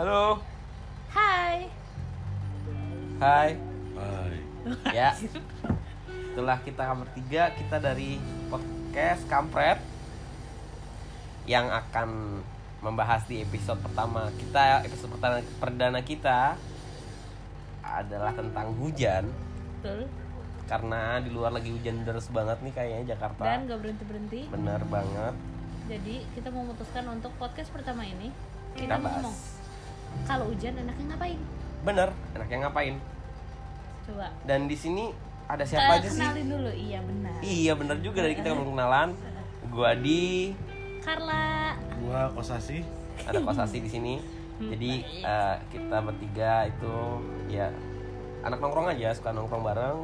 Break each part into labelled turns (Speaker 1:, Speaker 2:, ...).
Speaker 1: Halo.
Speaker 2: Hai.
Speaker 1: Hai.
Speaker 3: Hai.
Speaker 1: Ya. Itulah kita kamar tiga kita dari podcast Kampret yang akan membahas di episode pertama kita episode pertama perdana kita adalah tentang hujan
Speaker 2: Betul.
Speaker 1: karena di luar lagi hujan deras banget nih kayaknya Jakarta.
Speaker 2: Dan gak berhenti berhenti.
Speaker 1: Bener banget.
Speaker 2: Jadi kita memutuskan untuk podcast pertama ini
Speaker 1: Kita
Speaker 2: kita, mau ngomong
Speaker 1: bahas.
Speaker 2: kalau hujan enaknya ngapain?
Speaker 1: Bener. Enaknya ngapain?
Speaker 2: Coba.
Speaker 1: Dan di sini ada siapa
Speaker 2: Eh,
Speaker 1: aja sih?
Speaker 2: kenalin dulu. Iya benar.
Speaker 1: Iya bener juga dari kita belum kenalan. Gua di
Speaker 2: Carla.
Speaker 3: Gua Kosasi.
Speaker 1: ada kosasi di sini. Jadi eh, kita bertiga itu ya anak nongkrong aja suka nongkrong bareng.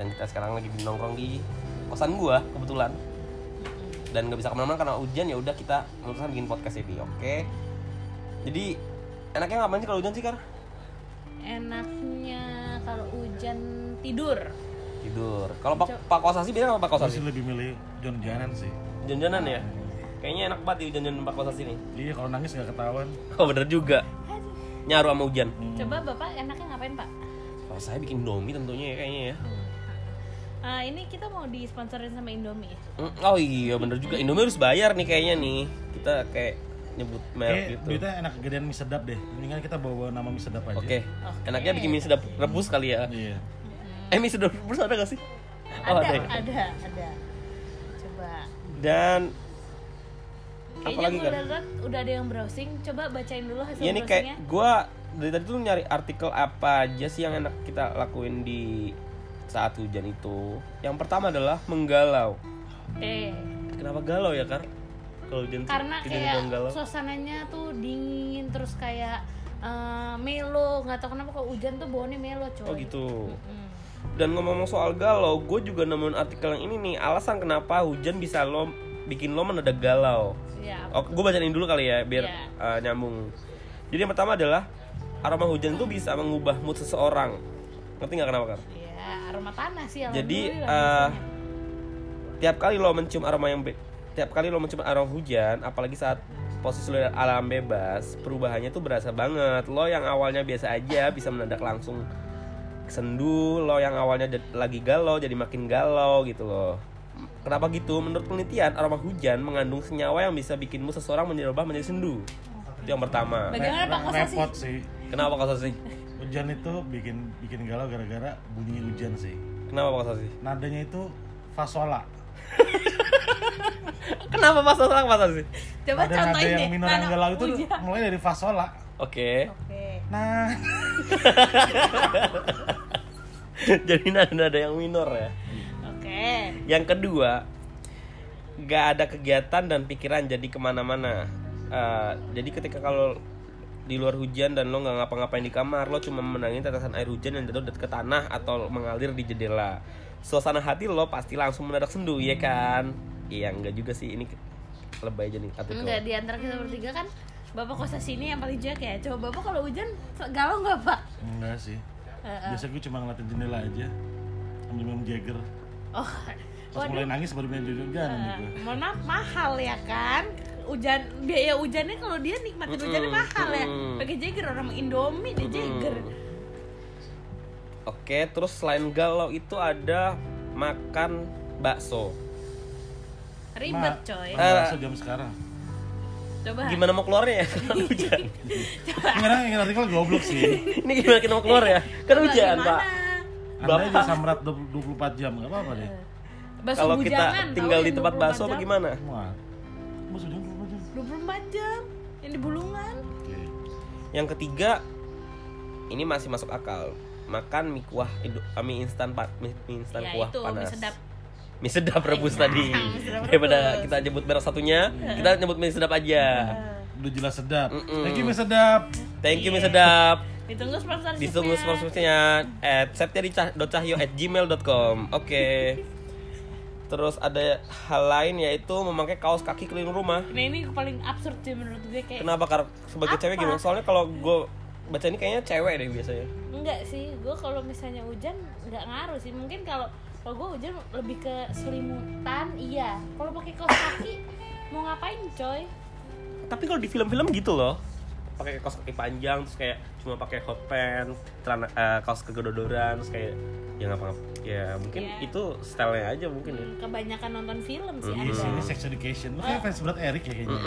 Speaker 1: Dan kita sekarang lagi nongkrong di kosan gua kebetulan. Dan nggak bisa kemana-mana karena hujan ya udah kita memutuskan bikin podcast ini. Oke. Jadi enaknya ngapain sih kalau hujan sih kar?
Speaker 2: Enaknya kalau hujan tidur.
Speaker 1: Tidur. Kalau pak, pak kosasi beda sama pak
Speaker 3: Gua
Speaker 1: kosasi?
Speaker 3: sih lebih milih John Janan sih.
Speaker 1: Janjanan ya. Kayaknya enak banget ya janjanan pak kosasi nih.
Speaker 3: Iya kalau nangis nggak ketahuan.
Speaker 1: Oh bener juga. Nyaru sama hujan.
Speaker 2: Coba Bapak enaknya ngapain, Pak?
Speaker 1: Kalau saya bikin domi tentunya ya kayaknya ya.
Speaker 2: Eh, ini kita mau disponsorin sama Indomie.
Speaker 1: Mm, Oh iya bener juga Indomie harus bayar nih kayaknya nih Kita kayak nyebut merek
Speaker 3: Kayak
Speaker 1: gitu
Speaker 3: Iya, duitnya enak gedean mie sedap deh. Mendingan kita bawa nama mie sedap aja.
Speaker 1: Oke Enaknya bikin mie sedap rebus kali ya
Speaker 3: Iya.
Speaker 1: Eh mie sedap rebus ada gak sih? Oh,
Speaker 2: ada,
Speaker 1: ya.
Speaker 2: ada, ada. Coba.
Speaker 1: Dan Apa
Speaker 2: Kayaknya
Speaker 1: lagi kan?
Speaker 2: udah, udah ada yang browsing. Coba bacain dulu hasil
Speaker 1: Ya nih
Speaker 2: browsingnya.
Speaker 1: kayak gua dari tadi tuh nyari artikel apa aja sih yang enak kita lakuin di saat hujan itu Yang pertama adalah menggalau
Speaker 2: Eh,
Speaker 1: Kenapa galau ya Kar? Kalau hujan tuh
Speaker 2: karena
Speaker 1: kejadian
Speaker 2: kayak
Speaker 1: orang galau
Speaker 2: suasananya tuh dingin terus kayak eh, melo nggak tau kenapa kalau hujan tuh baunya melo coy
Speaker 1: Oh gitu
Speaker 2: Mm.
Speaker 1: Dan ngomong-ngomong soal galau, gue juga nemuin artikel yang ini nih. Alasan kenapa hujan bisa lo bikin lo mendadak galau.
Speaker 2: ya
Speaker 1: Oh, gue bacain dulu kali ya, biar
Speaker 2: Iya.
Speaker 1: uh, nyambung. Jadi yang pertama adalah aroma hujan tuh bisa mengubah mood seseorang. Ngerti nggak kenapa kan?
Speaker 2: ya aroma tanah sih
Speaker 1: Jadi
Speaker 2: alhamdulillah
Speaker 1: eh
Speaker 2: biasanya.
Speaker 1: tiap kali lo mencium aroma yang be- tiap kali lo mencium aroma hujan, apalagi saat posisi lo alam bebas, perubahannya tuh berasa banget. Lo yang awalnya biasa aja bisa mendadak langsung sendu, lo yang awalnya jad- lagi galau jadi makin galau gitu loh. Kenapa gitu? Menurut penelitian, aroma hujan mengandung senyawa yang bisa bikinmu seseorang menjadi berubah menjadi sendu. Itu yang pertama.
Speaker 2: bagaimana
Speaker 3: Re-
Speaker 2: pak
Speaker 3: re-
Speaker 2: Kosasi
Speaker 3: Repot sih.
Speaker 1: Kenapa kau sih?
Speaker 3: Hujan itu bikin bikin galau gara-gara bunyi hujan sih.
Speaker 1: Kenapa kau sih?
Speaker 3: Nadanya itu fasola.
Speaker 1: Kenapa pas orang pas sih?
Speaker 2: coba
Speaker 3: Ada nada
Speaker 2: contohin deh
Speaker 3: yang minoran
Speaker 2: Nana,
Speaker 3: galau itu
Speaker 2: hujan.
Speaker 3: mulai dari fasola.
Speaker 1: Oke.
Speaker 2: oke
Speaker 3: Nah,
Speaker 1: jadi nada-nada yang minor ya.
Speaker 2: oke
Speaker 1: Yang kedua, nggak ada kegiatan dan pikiran jadi kemana-mana. Eh, jadi ketika kalau di luar hujan dan lo nggak ngapa-ngapain di kamar, lo cuma menangin tetesan air hujan yang jatuh ke tanah atau mengalir di jendela. Suasana hati lo pasti langsung mendadak sendu, ya kan? Iya, nggak juga sih. Ini ke- lebay aja nih artikel.
Speaker 2: enggak di antara kita bertiga kan bapak Kosasi ini yang paling jack ya coba bapak kalau hujan so- galau nggak pak
Speaker 3: enggak sih.
Speaker 2: Heeh.
Speaker 3: Biasa gue cuma ngeliatin jendela aja. Ambil minum Jagger.
Speaker 2: oh
Speaker 3: Pas mulai nangis baru minum gitu.
Speaker 2: Nah.
Speaker 3: Jagger Jangan nih gue.
Speaker 2: Eh, mohon maaf mahal ya kan hujan biaya hujannya kalau dia nikmatin hujannya mahal ya
Speaker 1: mm-mm.
Speaker 2: pakai Jagger orang Indomie deh Jagger
Speaker 1: Oke, terus selain galau itu ada makan bakso.
Speaker 2: ribet
Speaker 3: Ma,
Speaker 2: coy
Speaker 3: makan bakso jam Nah, sekarang.
Speaker 2: coba
Speaker 1: Eh, Gimana mau keluarnya ya? Karena hujan.
Speaker 3: Ngarang yang artikel goblok sih.
Speaker 1: Ini gimana kita mau keluar ya? Kan
Speaker 2: Coba
Speaker 1: hujan,
Speaker 2: gimana?
Speaker 1: Pak.
Speaker 3: Anda aja samrat 24 jam, nggak apa-apa deh.
Speaker 2: Bakso
Speaker 1: Kalau kita
Speaker 2: bujangan,
Speaker 1: tinggal
Speaker 2: tahu
Speaker 1: di
Speaker 2: ya, yang
Speaker 1: tempat
Speaker 2: 24
Speaker 1: bakso
Speaker 2: jam.
Speaker 1: bagaimana?
Speaker 3: Wah, mau sudah 24 jam.
Speaker 2: 24 jam yang di bulungan
Speaker 3: Oke.
Speaker 1: Yang ketiga, ini masih masuk akal. Makan mie kuah, Indo- eh, mie instan pa- mie, mie instan
Speaker 2: ya
Speaker 1: kuah
Speaker 2: itu
Speaker 1: panas.
Speaker 2: mie sedap Iya.
Speaker 1: Mie sedap rebus tadi.
Speaker 2: mie sedap
Speaker 1: Daripada
Speaker 2: rebus. Iya.
Speaker 1: kita nyebut merek satunya, kita nyebut mie sedap aja.
Speaker 3: Udah jelas sedap.
Speaker 1: Mm-mm. Mm.
Speaker 3: Thank you, Mas Sedap.
Speaker 1: Thank you mie sedap.
Speaker 2: ditunggu sponsorshipnya
Speaker 1: Ditunggu sponsornya at septiadicahyo@gmail.com. Oke. Terus ada hal lain yaitu memakai kaos kaki keliling rumah.
Speaker 2: nah ini paling absurd sih menurut gue kayak
Speaker 1: Kenapa Kar- sebagai cewek gimana? Soalnya kalau gue baca ini kayaknya cewek deh biasanya.
Speaker 2: Enggak sih, gue kalau misalnya hujan nggak ngaruh sih. Mungkin kalau kalau gue hujan lebih ke selimutan, iya. Kalau pakai kaos kaki mau ngapain, coy?
Speaker 1: Tapi kalau di film-film gitu loh. pakai kaos kaki panjang terus kayak cuma pakai hot pants celana eh, kaos kegedodoran terus kayak ya ngapa ya mungkin
Speaker 2: Iya.
Speaker 1: itu stylenya aja mungkin ya
Speaker 2: Hmm, kebanyakan nonton film sih
Speaker 1: Hmm.
Speaker 3: Ini
Speaker 2: ada.
Speaker 3: ini sex education. Lu kayak fans berat Eric ya kayaknya.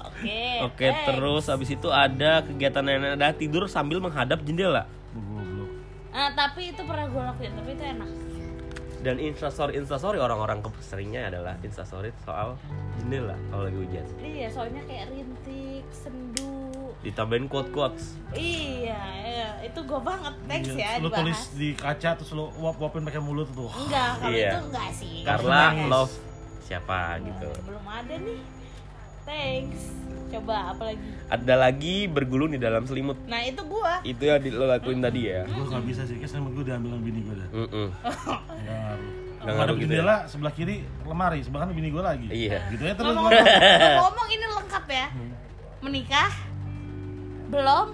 Speaker 2: Oke.
Speaker 1: Oke,
Speaker 2: next.
Speaker 1: terus abis itu ada kegiatan nenek ada tidur sambil menghadap jendela.
Speaker 3: Lu goblok.
Speaker 2: Ah, tapi itu pernah gue lakuin, tapi itu enak.
Speaker 1: Dan instastory instastory orang-orang keseringnya adalah instastory soal jendela kalau lagi hujan.
Speaker 2: Iya, soalnya kayak rintik, sendu.
Speaker 1: Ditambahin quote quotes.
Speaker 2: Iya, iya, itu gue banget next ya
Speaker 3: Iya, Lu tulis
Speaker 2: dibahas.
Speaker 3: di kaca terus lu uap-uapin pakai mulut tuh.
Speaker 2: Enggak, kalau
Speaker 1: Iya.
Speaker 2: itu enggak sih.
Speaker 1: Carla
Speaker 3: Nice.
Speaker 1: love siapa gitu.
Speaker 2: Belum ada nih. Thanks. Coba apalagi.
Speaker 1: Ada lagi bergulung di dalam selimut.
Speaker 2: Nah, itu gua.
Speaker 1: Itu yang di- lo lakuin tadi ya.
Speaker 3: Gue gak bisa sih, kayaknya sama gue diambil sama bini gue dah Ya,
Speaker 1: Mm-mm.
Speaker 3: Gak ngaruh
Speaker 1: Nggak
Speaker 3: Ada
Speaker 1: ngaruh gitu
Speaker 3: jendela, sebelah kiri lemari, sebelah kanan bini gue lagi
Speaker 1: Iya.
Speaker 3: Gitu ya terus
Speaker 2: Ngomong-ngomong, ngomong ini lengkap ya. Menikah? Belum?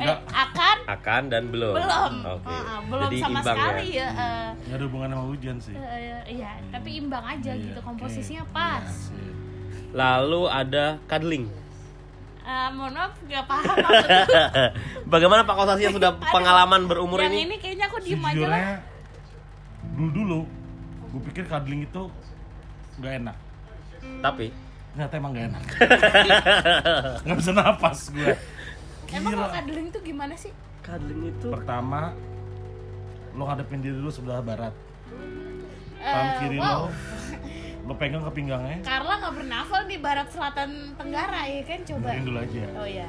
Speaker 2: Eh,
Speaker 3: Nggak.
Speaker 2: akan?
Speaker 1: Akan dan belum.
Speaker 2: Belum.
Speaker 1: Oke.
Speaker 2: Ah, ah, belum
Speaker 1: Jadi
Speaker 2: sama
Speaker 1: imbang
Speaker 2: sekali
Speaker 1: ya.
Speaker 2: ya. eh.
Speaker 3: Gak ada hubungan sama hujan sih
Speaker 2: Eh, iya, tapi imbang aja
Speaker 3: Iya,
Speaker 2: gitu
Speaker 3: oke. Iya,
Speaker 2: komposisinya pas.
Speaker 3: Asik.
Speaker 1: Lalu ada cuddling.
Speaker 2: Eh, mohon maaf nggak paham maksudnya.
Speaker 1: Bagaimana Pak Kosasi yang sudah pengalaman berumur
Speaker 2: Yang
Speaker 1: ini?
Speaker 2: ini kayaknya aku diem aja lah.
Speaker 3: Sejujurnya dulu dulu gue pikir cuddling itu gak enak
Speaker 1: Tapi
Speaker 3: ternyata emang gak enak nggak bisa napas gue
Speaker 2: Emang kalau
Speaker 3: gila
Speaker 2: cuddling tuh gimana sih?
Speaker 1: cuddling itu
Speaker 3: pertama lo ngadepin diri lo sebelah barat tangan
Speaker 2: Eh,
Speaker 3: kiri
Speaker 2: wow.
Speaker 3: lo lo pegang ke pinggangnya
Speaker 2: Carla nggak bernafal di barat selatan tenggara ya kan coba.
Speaker 3: dengerin dulu aja
Speaker 2: Oh ya.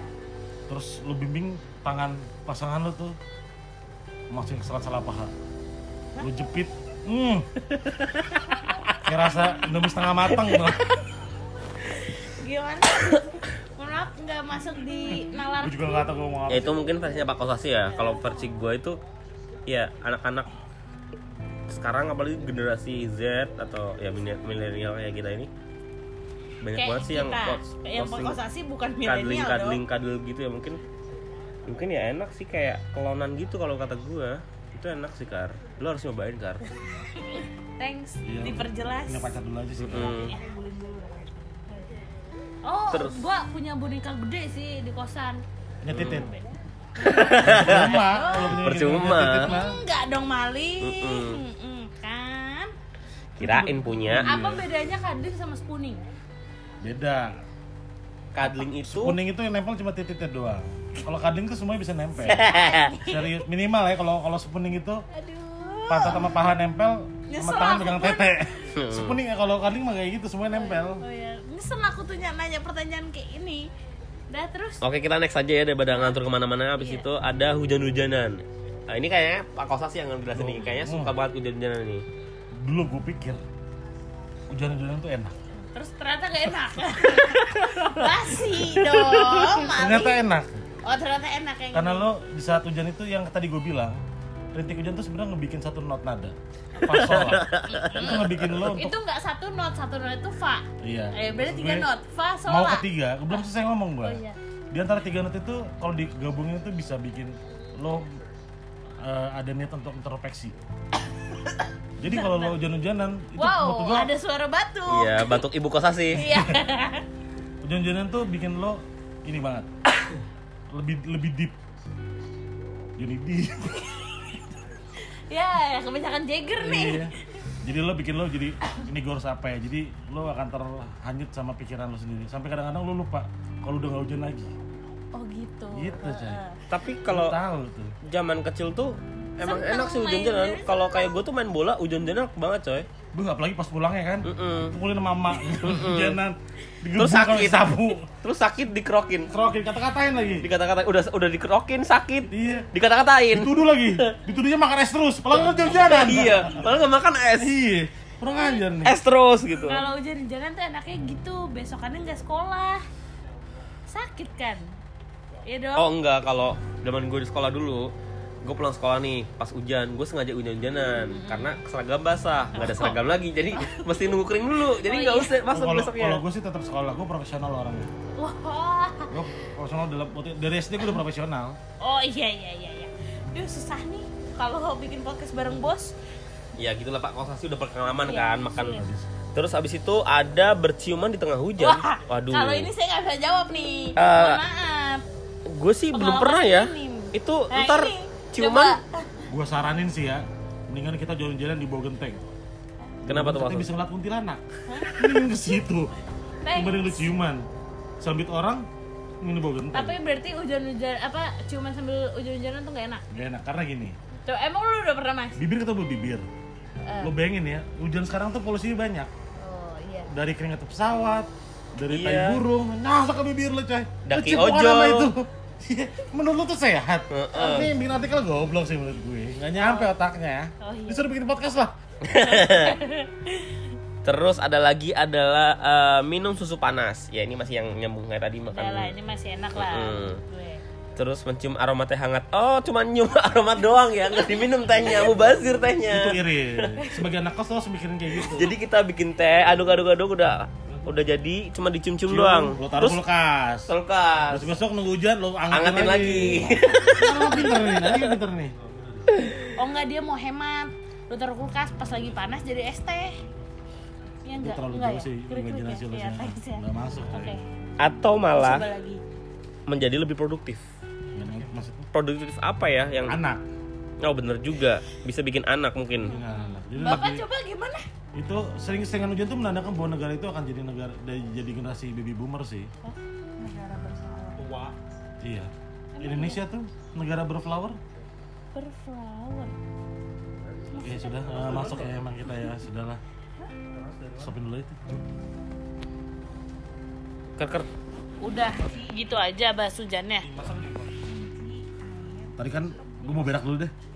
Speaker 3: terus lo bimbing tangan pasangan lo tuh masukin ke serat salah paha lo jepit hmm kayak rasa indomie setengah matang gitu
Speaker 2: Gimana? Mohon maaf nggak masuk di nalar.
Speaker 3: gue juga gak tau gue mau
Speaker 1: ya
Speaker 3: apa
Speaker 1: itu mungkin versinya Pak Kosasi
Speaker 2: Iya.
Speaker 1: ya kalau versi gue itu ya anak-anak sekarang apalagi generasi Z atau ya mine- milenial kayak kita ini banyak banget sih yang post-
Speaker 2: yang
Speaker 1: posting
Speaker 2: pokosasi bukan
Speaker 1: cuddling
Speaker 2: milenial
Speaker 1: cuddling
Speaker 2: dong.
Speaker 1: cuddle gitu ya mungkin mungkin ya enak sih kayak kelonan gitu kalau kata gue itu enak sih kar lo harus nyobain kar
Speaker 2: Thanks
Speaker 3: Iya,
Speaker 2: diperjelas.
Speaker 3: punya pacar dulu aja sih
Speaker 1: Mm.
Speaker 2: Oh,
Speaker 1: Terus.
Speaker 2: gua punya boneka gede sih di kosan.
Speaker 3: punya titit percuma kalau punya
Speaker 1: Percuma.
Speaker 3: punya titit mah.
Speaker 2: Enggak dong maling.
Speaker 1: Mm-mm. Iya.
Speaker 2: Mm-mm, kan?
Speaker 1: kirain punya
Speaker 2: Apa bedanya kading sama spooning?
Speaker 3: beda
Speaker 1: cuddling itu
Speaker 3: kuning itu yang nempel cuma titiknya doang kalau kading tuh semuanya bisa nempel serius minimal ya kalau kalau sepening itu
Speaker 2: Aduh.
Speaker 3: pantat sama paha nempel sama
Speaker 2: Nyesel
Speaker 3: tangan
Speaker 2: aku
Speaker 3: pegang
Speaker 2: pun.
Speaker 3: tete sepening ya kalau kading mah kayak gitu semuanya nempel
Speaker 2: Oh ya, nyesel aku tuh nanya pertanyaan kayak ini. Dah terus
Speaker 1: Oke kita next aja ya daripada ngantur kemana-mana Abis
Speaker 2: Iya.
Speaker 1: itu ada hujan-hujanan nah, Ini kayaknya Pak Kosa sih yang ngejelasin nih Kayaknya suka banget hujan-hujanan nih
Speaker 3: dulu gue pikir hujan-hujanan tuh enak
Speaker 2: terus ternyata gak enak. Basi dong,
Speaker 3: ternyata
Speaker 2: maling.
Speaker 3: enak
Speaker 2: Oh, ternyata enak yang
Speaker 3: karena
Speaker 2: ini.
Speaker 3: lo di saat hujan itu yang tadi gue bilang rintik hujan tuh sebenarnya ngebikin satu not nada pas sholat itu ngebikin lo untuk
Speaker 2: itu nggak satu note, satu note itu fa.
Speaker 3: Iya.
Speaker 2: Eh, berarti
Speaker 3: Maksud
Speaker 2: tiga
Speaker 3: gue,
Speaker 2: note, fa
Speaker 3: Mau
Speaker 2: sola.
Speaker 3: ketiga, gue belum selesai ngomong gua.
Speaker 2: Oh, iya.
Speaker 3: Di antara tiga note itu kalau digabungin itu bisa bikin lo eh, ada niat untuk introspeksi. Jadi kalau lo hujan-hujanan itu menurut
Speaker 2: Wow,
Speaker 3: gua,
Speaker 2: ada suara batu.
Speaker 1: Iya batuk ibu Kosa sih
Speaker 2: Iya.
Speaker 3: hujan-hujanan tuh bikin lo ini banget. lebih lebih deep. Johnny Deep.
Speaker 2: ya, kebanyakan Jagger nih.
Speaker 3: Iya. Jadi lo bikin lo jadi ini gue harus apa ya? Jadi lo akan terhanyut sama pikiran lo sendiri. Sampai kadang-kadang lo lupa kalau udah gak hujan lagi.
Speaker 2: Oh gitu.
Speaker 3: Gitu, coy.
Speaker 1: Tapi
Speaker 3: Lo
Speaker 1: kalau
Speaker 3: tahu tuh.
Speaker 1: zaman kecil tuh Emang
Speaker 2: Seneng
Speaker 1: enak sih
Speaker 2: main
Speaker 1: hujan-hujanan
Speaker 2: bola.
Speaker 1: Kalau kayak gue tuh main bola hujan-hujanan enak banget coy
Speaker 3: Duh, apalagi pas pulangnya kan.
Speaker 1: Mm-mm.
Speaker 3: Pukulin sama emak. Hujanan.
Speaker 1: Terus
Speaker 3: Digebuk sama
Speaker 1: sakit.
Speaker 3: sapu.
Speaker 1: Terus sakit dikerokin
Speaker 3: Kerokin kata-katain lagi.
Speaker 1: Dikata-kata udah udah dikerokin sakit
Speaker 3: Iya.
Speaker 1: Dikata-katain
Speaker 3: Dituduh lagi. Dituduhnya makan es terus. Padahal kan hujanan.
Speaker 1: Iya Padahal gak makan es
Speaker 3: Iya. Kurang ajar nih.
Speaker 1: Es terus gitu
Speaker 2: Kalau hujan-hujanan tuh enaknya gitu, besokannya nggak sekolah. Sakit kan? Iya dong.
Speaker 1: Oh enggak, kalau zaman gue di sekolah dulu gue pulang sekolah nih pas hujan gue sengaja hujan-hujanan
Speaker 2: Hmm.
Speaker 1: karena seragam basah nggak ada seragam lagi jadi mesti nunggu kering dulu jadi
Speaker 2: Oh,
Speaker 1: nggak
Speaker 2: iya.
Speaker 1: usah masuk
Speaker 3: Kalau
Speaker 1: besoknya
Speaker 3: kalau gue sih tetap sekolah, gue profesional orangnya.
Speaker 2: Wah.
Speaker 3: Gue profesional dalam dari SD gue udah profesional.
Speaker 2: Oh iya iya iya iya. Duh susah nih kalau bikin podcast bareng bos.
Speaker 1: ya gitulah pak kosasi udah berpengalaman
Speaker 2: Iya,
Speaker 1: kan makan
Speaker 2: sulit.
Speaker 1: Terus abis itu ada berciuman di tengah hujan.
Speaker 2: Wah,
Speaker 1: Iya, Waduh.
Speaker 2: kalau ini saya nggak bisa jawab nih.
Speaker 1: Eh,
Speaker 2: Mohon maaf.
Speaker 1: gue sih belum
Speaker 2: pengalaman
Speaker 1: pernah ya.
Speaker 2: minim.
Speaker 1: Itu
Speaker 2: Nah,
Speaker 1: ntar
Speaker 2: ini,
Speaker 1: ciuman
Speaker 2: coba.
Speaker 3: Gua saranin sih ya, mendingan kita jalan-jalan di bawah genteng.
Speaker 1: kenapa tuh
Speaker 3: Kita
Speaker 1: maksud?
Speaker 3: bisa ngeliat kuntilanak. Hmm, ke situ.
Speaker 2: Thanks.
Speaker 3: Kemarin lu ciuman. Sambit orang, ini di bawah genteng.
Speaker 2: Tapi berarti hujan-hujan apa ciuman sambil hujan-hujanan tuh nggak enak.
Speaker 3: Gak enak karena gini,
Speaker 2: Tuh emang lu udah pernah mas?
Speaker 3: bibir ketemu bibir.
Speaker 2: Eh.
Speaker 3: Lo bayangin ya, hujan sekarang tuh polusinya banyak.
Speaker 2: Oh iya.
Speaker 3: Dari keringat pesawat, dari tai
Speaker 1: Iya.
Speaker 3: burung, nyasar ke bibir lo coy. Lo
Speaker 1: Daki
Speaker 3: cipokan sama
Speaker 1: ojol.
Speaker 3: Itu. menurut lo tuh sehat.
Speaker 1: Heeh.
Speaker 3: Ini yang bikin artikel goblok sih menurut gue. Gak nyampe otaknya.
Speaker 2: Oh, iya.
Speaker 3: Disuruh bikin podcast lah.
Speaker 1: Terus ada lagi adalah eh, minum susu panas. Ya ini masih yang nyambung kayak tadi makan.
Speaker 2: Udah lah ini masih enak lah.
Speaker 1: Mm-mm.
Speaker 2: menurut gue.
Speaker 1: Terus mencium aroma teh hangat. Oh, cuma nyium aroma doang ya, nggak diminum tehnya, mubazir
Speaker 2: Eh.
Speaker 3: Itu ya.
Speaker 1: tehnya.
Speaker 3: iri. Sebagai anak kos lo harus mikirin kayak gitu.
Speaker 1: Jadi kita bikin teh, aduk-aduk-aduk udah udah jadi, cuma dicium-cium doang.
Speaker 3: Lo taruh
Speaker 1: Terus
Speaker 3: kulkas.
Speaker 1: kulkas.
Speaker 3: Terus besok nunggu hujan lo
Speaker 1: Angetin
Speaker 3: angetin, Nah,
Speaker 1: lagi.
Speaker 3: Lo pinter nih, nanti pinter nih.
Speaker 2: Oh enggak dia mau hemat. Lu taruh kulkas pas lagi panas jadi es teh. Iya
Speaker 3: Itu
Speaker 2: enggak?
Speaker 3: terlalu
Speaker 2: enggak
Speaker 3: jauh
Speaker 2: ya?
Speaker 3: sih
Speaker 2: Krik-krik ya?
Speaker 3: imajinasi lo
Speaker 2: Iya,
Speaker 3: sih.
Speaker 2: thanks ya.
Speaker 3: Nggak masuk. coy.
Speaker 2: Oke.
Speaker 1: Atau
Speaker 2: Coba
Speaker 1: malah
Speaker 2: lagi.
Speaker 1: menjadi lebih produktif.
Speaker 3: Gimana maksudnya?
Speaker 1: Produktif apa ya yang
Speaker 3: Anak.
Speaker 1: Oh bener juga, bisa bikin anak mungkin.
Speaker 3: Dengan anak. Jadi
Speaker 2: Bapak
Speaker 3: lagi-
Speaker 2: coba gimana?
Speaker 3: itu sering-seringan hujan tuh menandakan bahwa negara itu akan jadi negara dan jadi generasi baby boomer sih.
Speaker 2: Oh, Negara bersawah.
Speaker 3: Iya. Indonesia tuh negara berflower.
Speaker 2: Berflower.
Speaker 3: Oke sudah eh, masuk ya emang kita ya sudahlah. Stopin dulu itu.
Speaker 1: Kerker.
Speaker 2: Udah gitu aja bahas hujannya.
Speaker 3: Tadi kan gue mau berak dulu deh.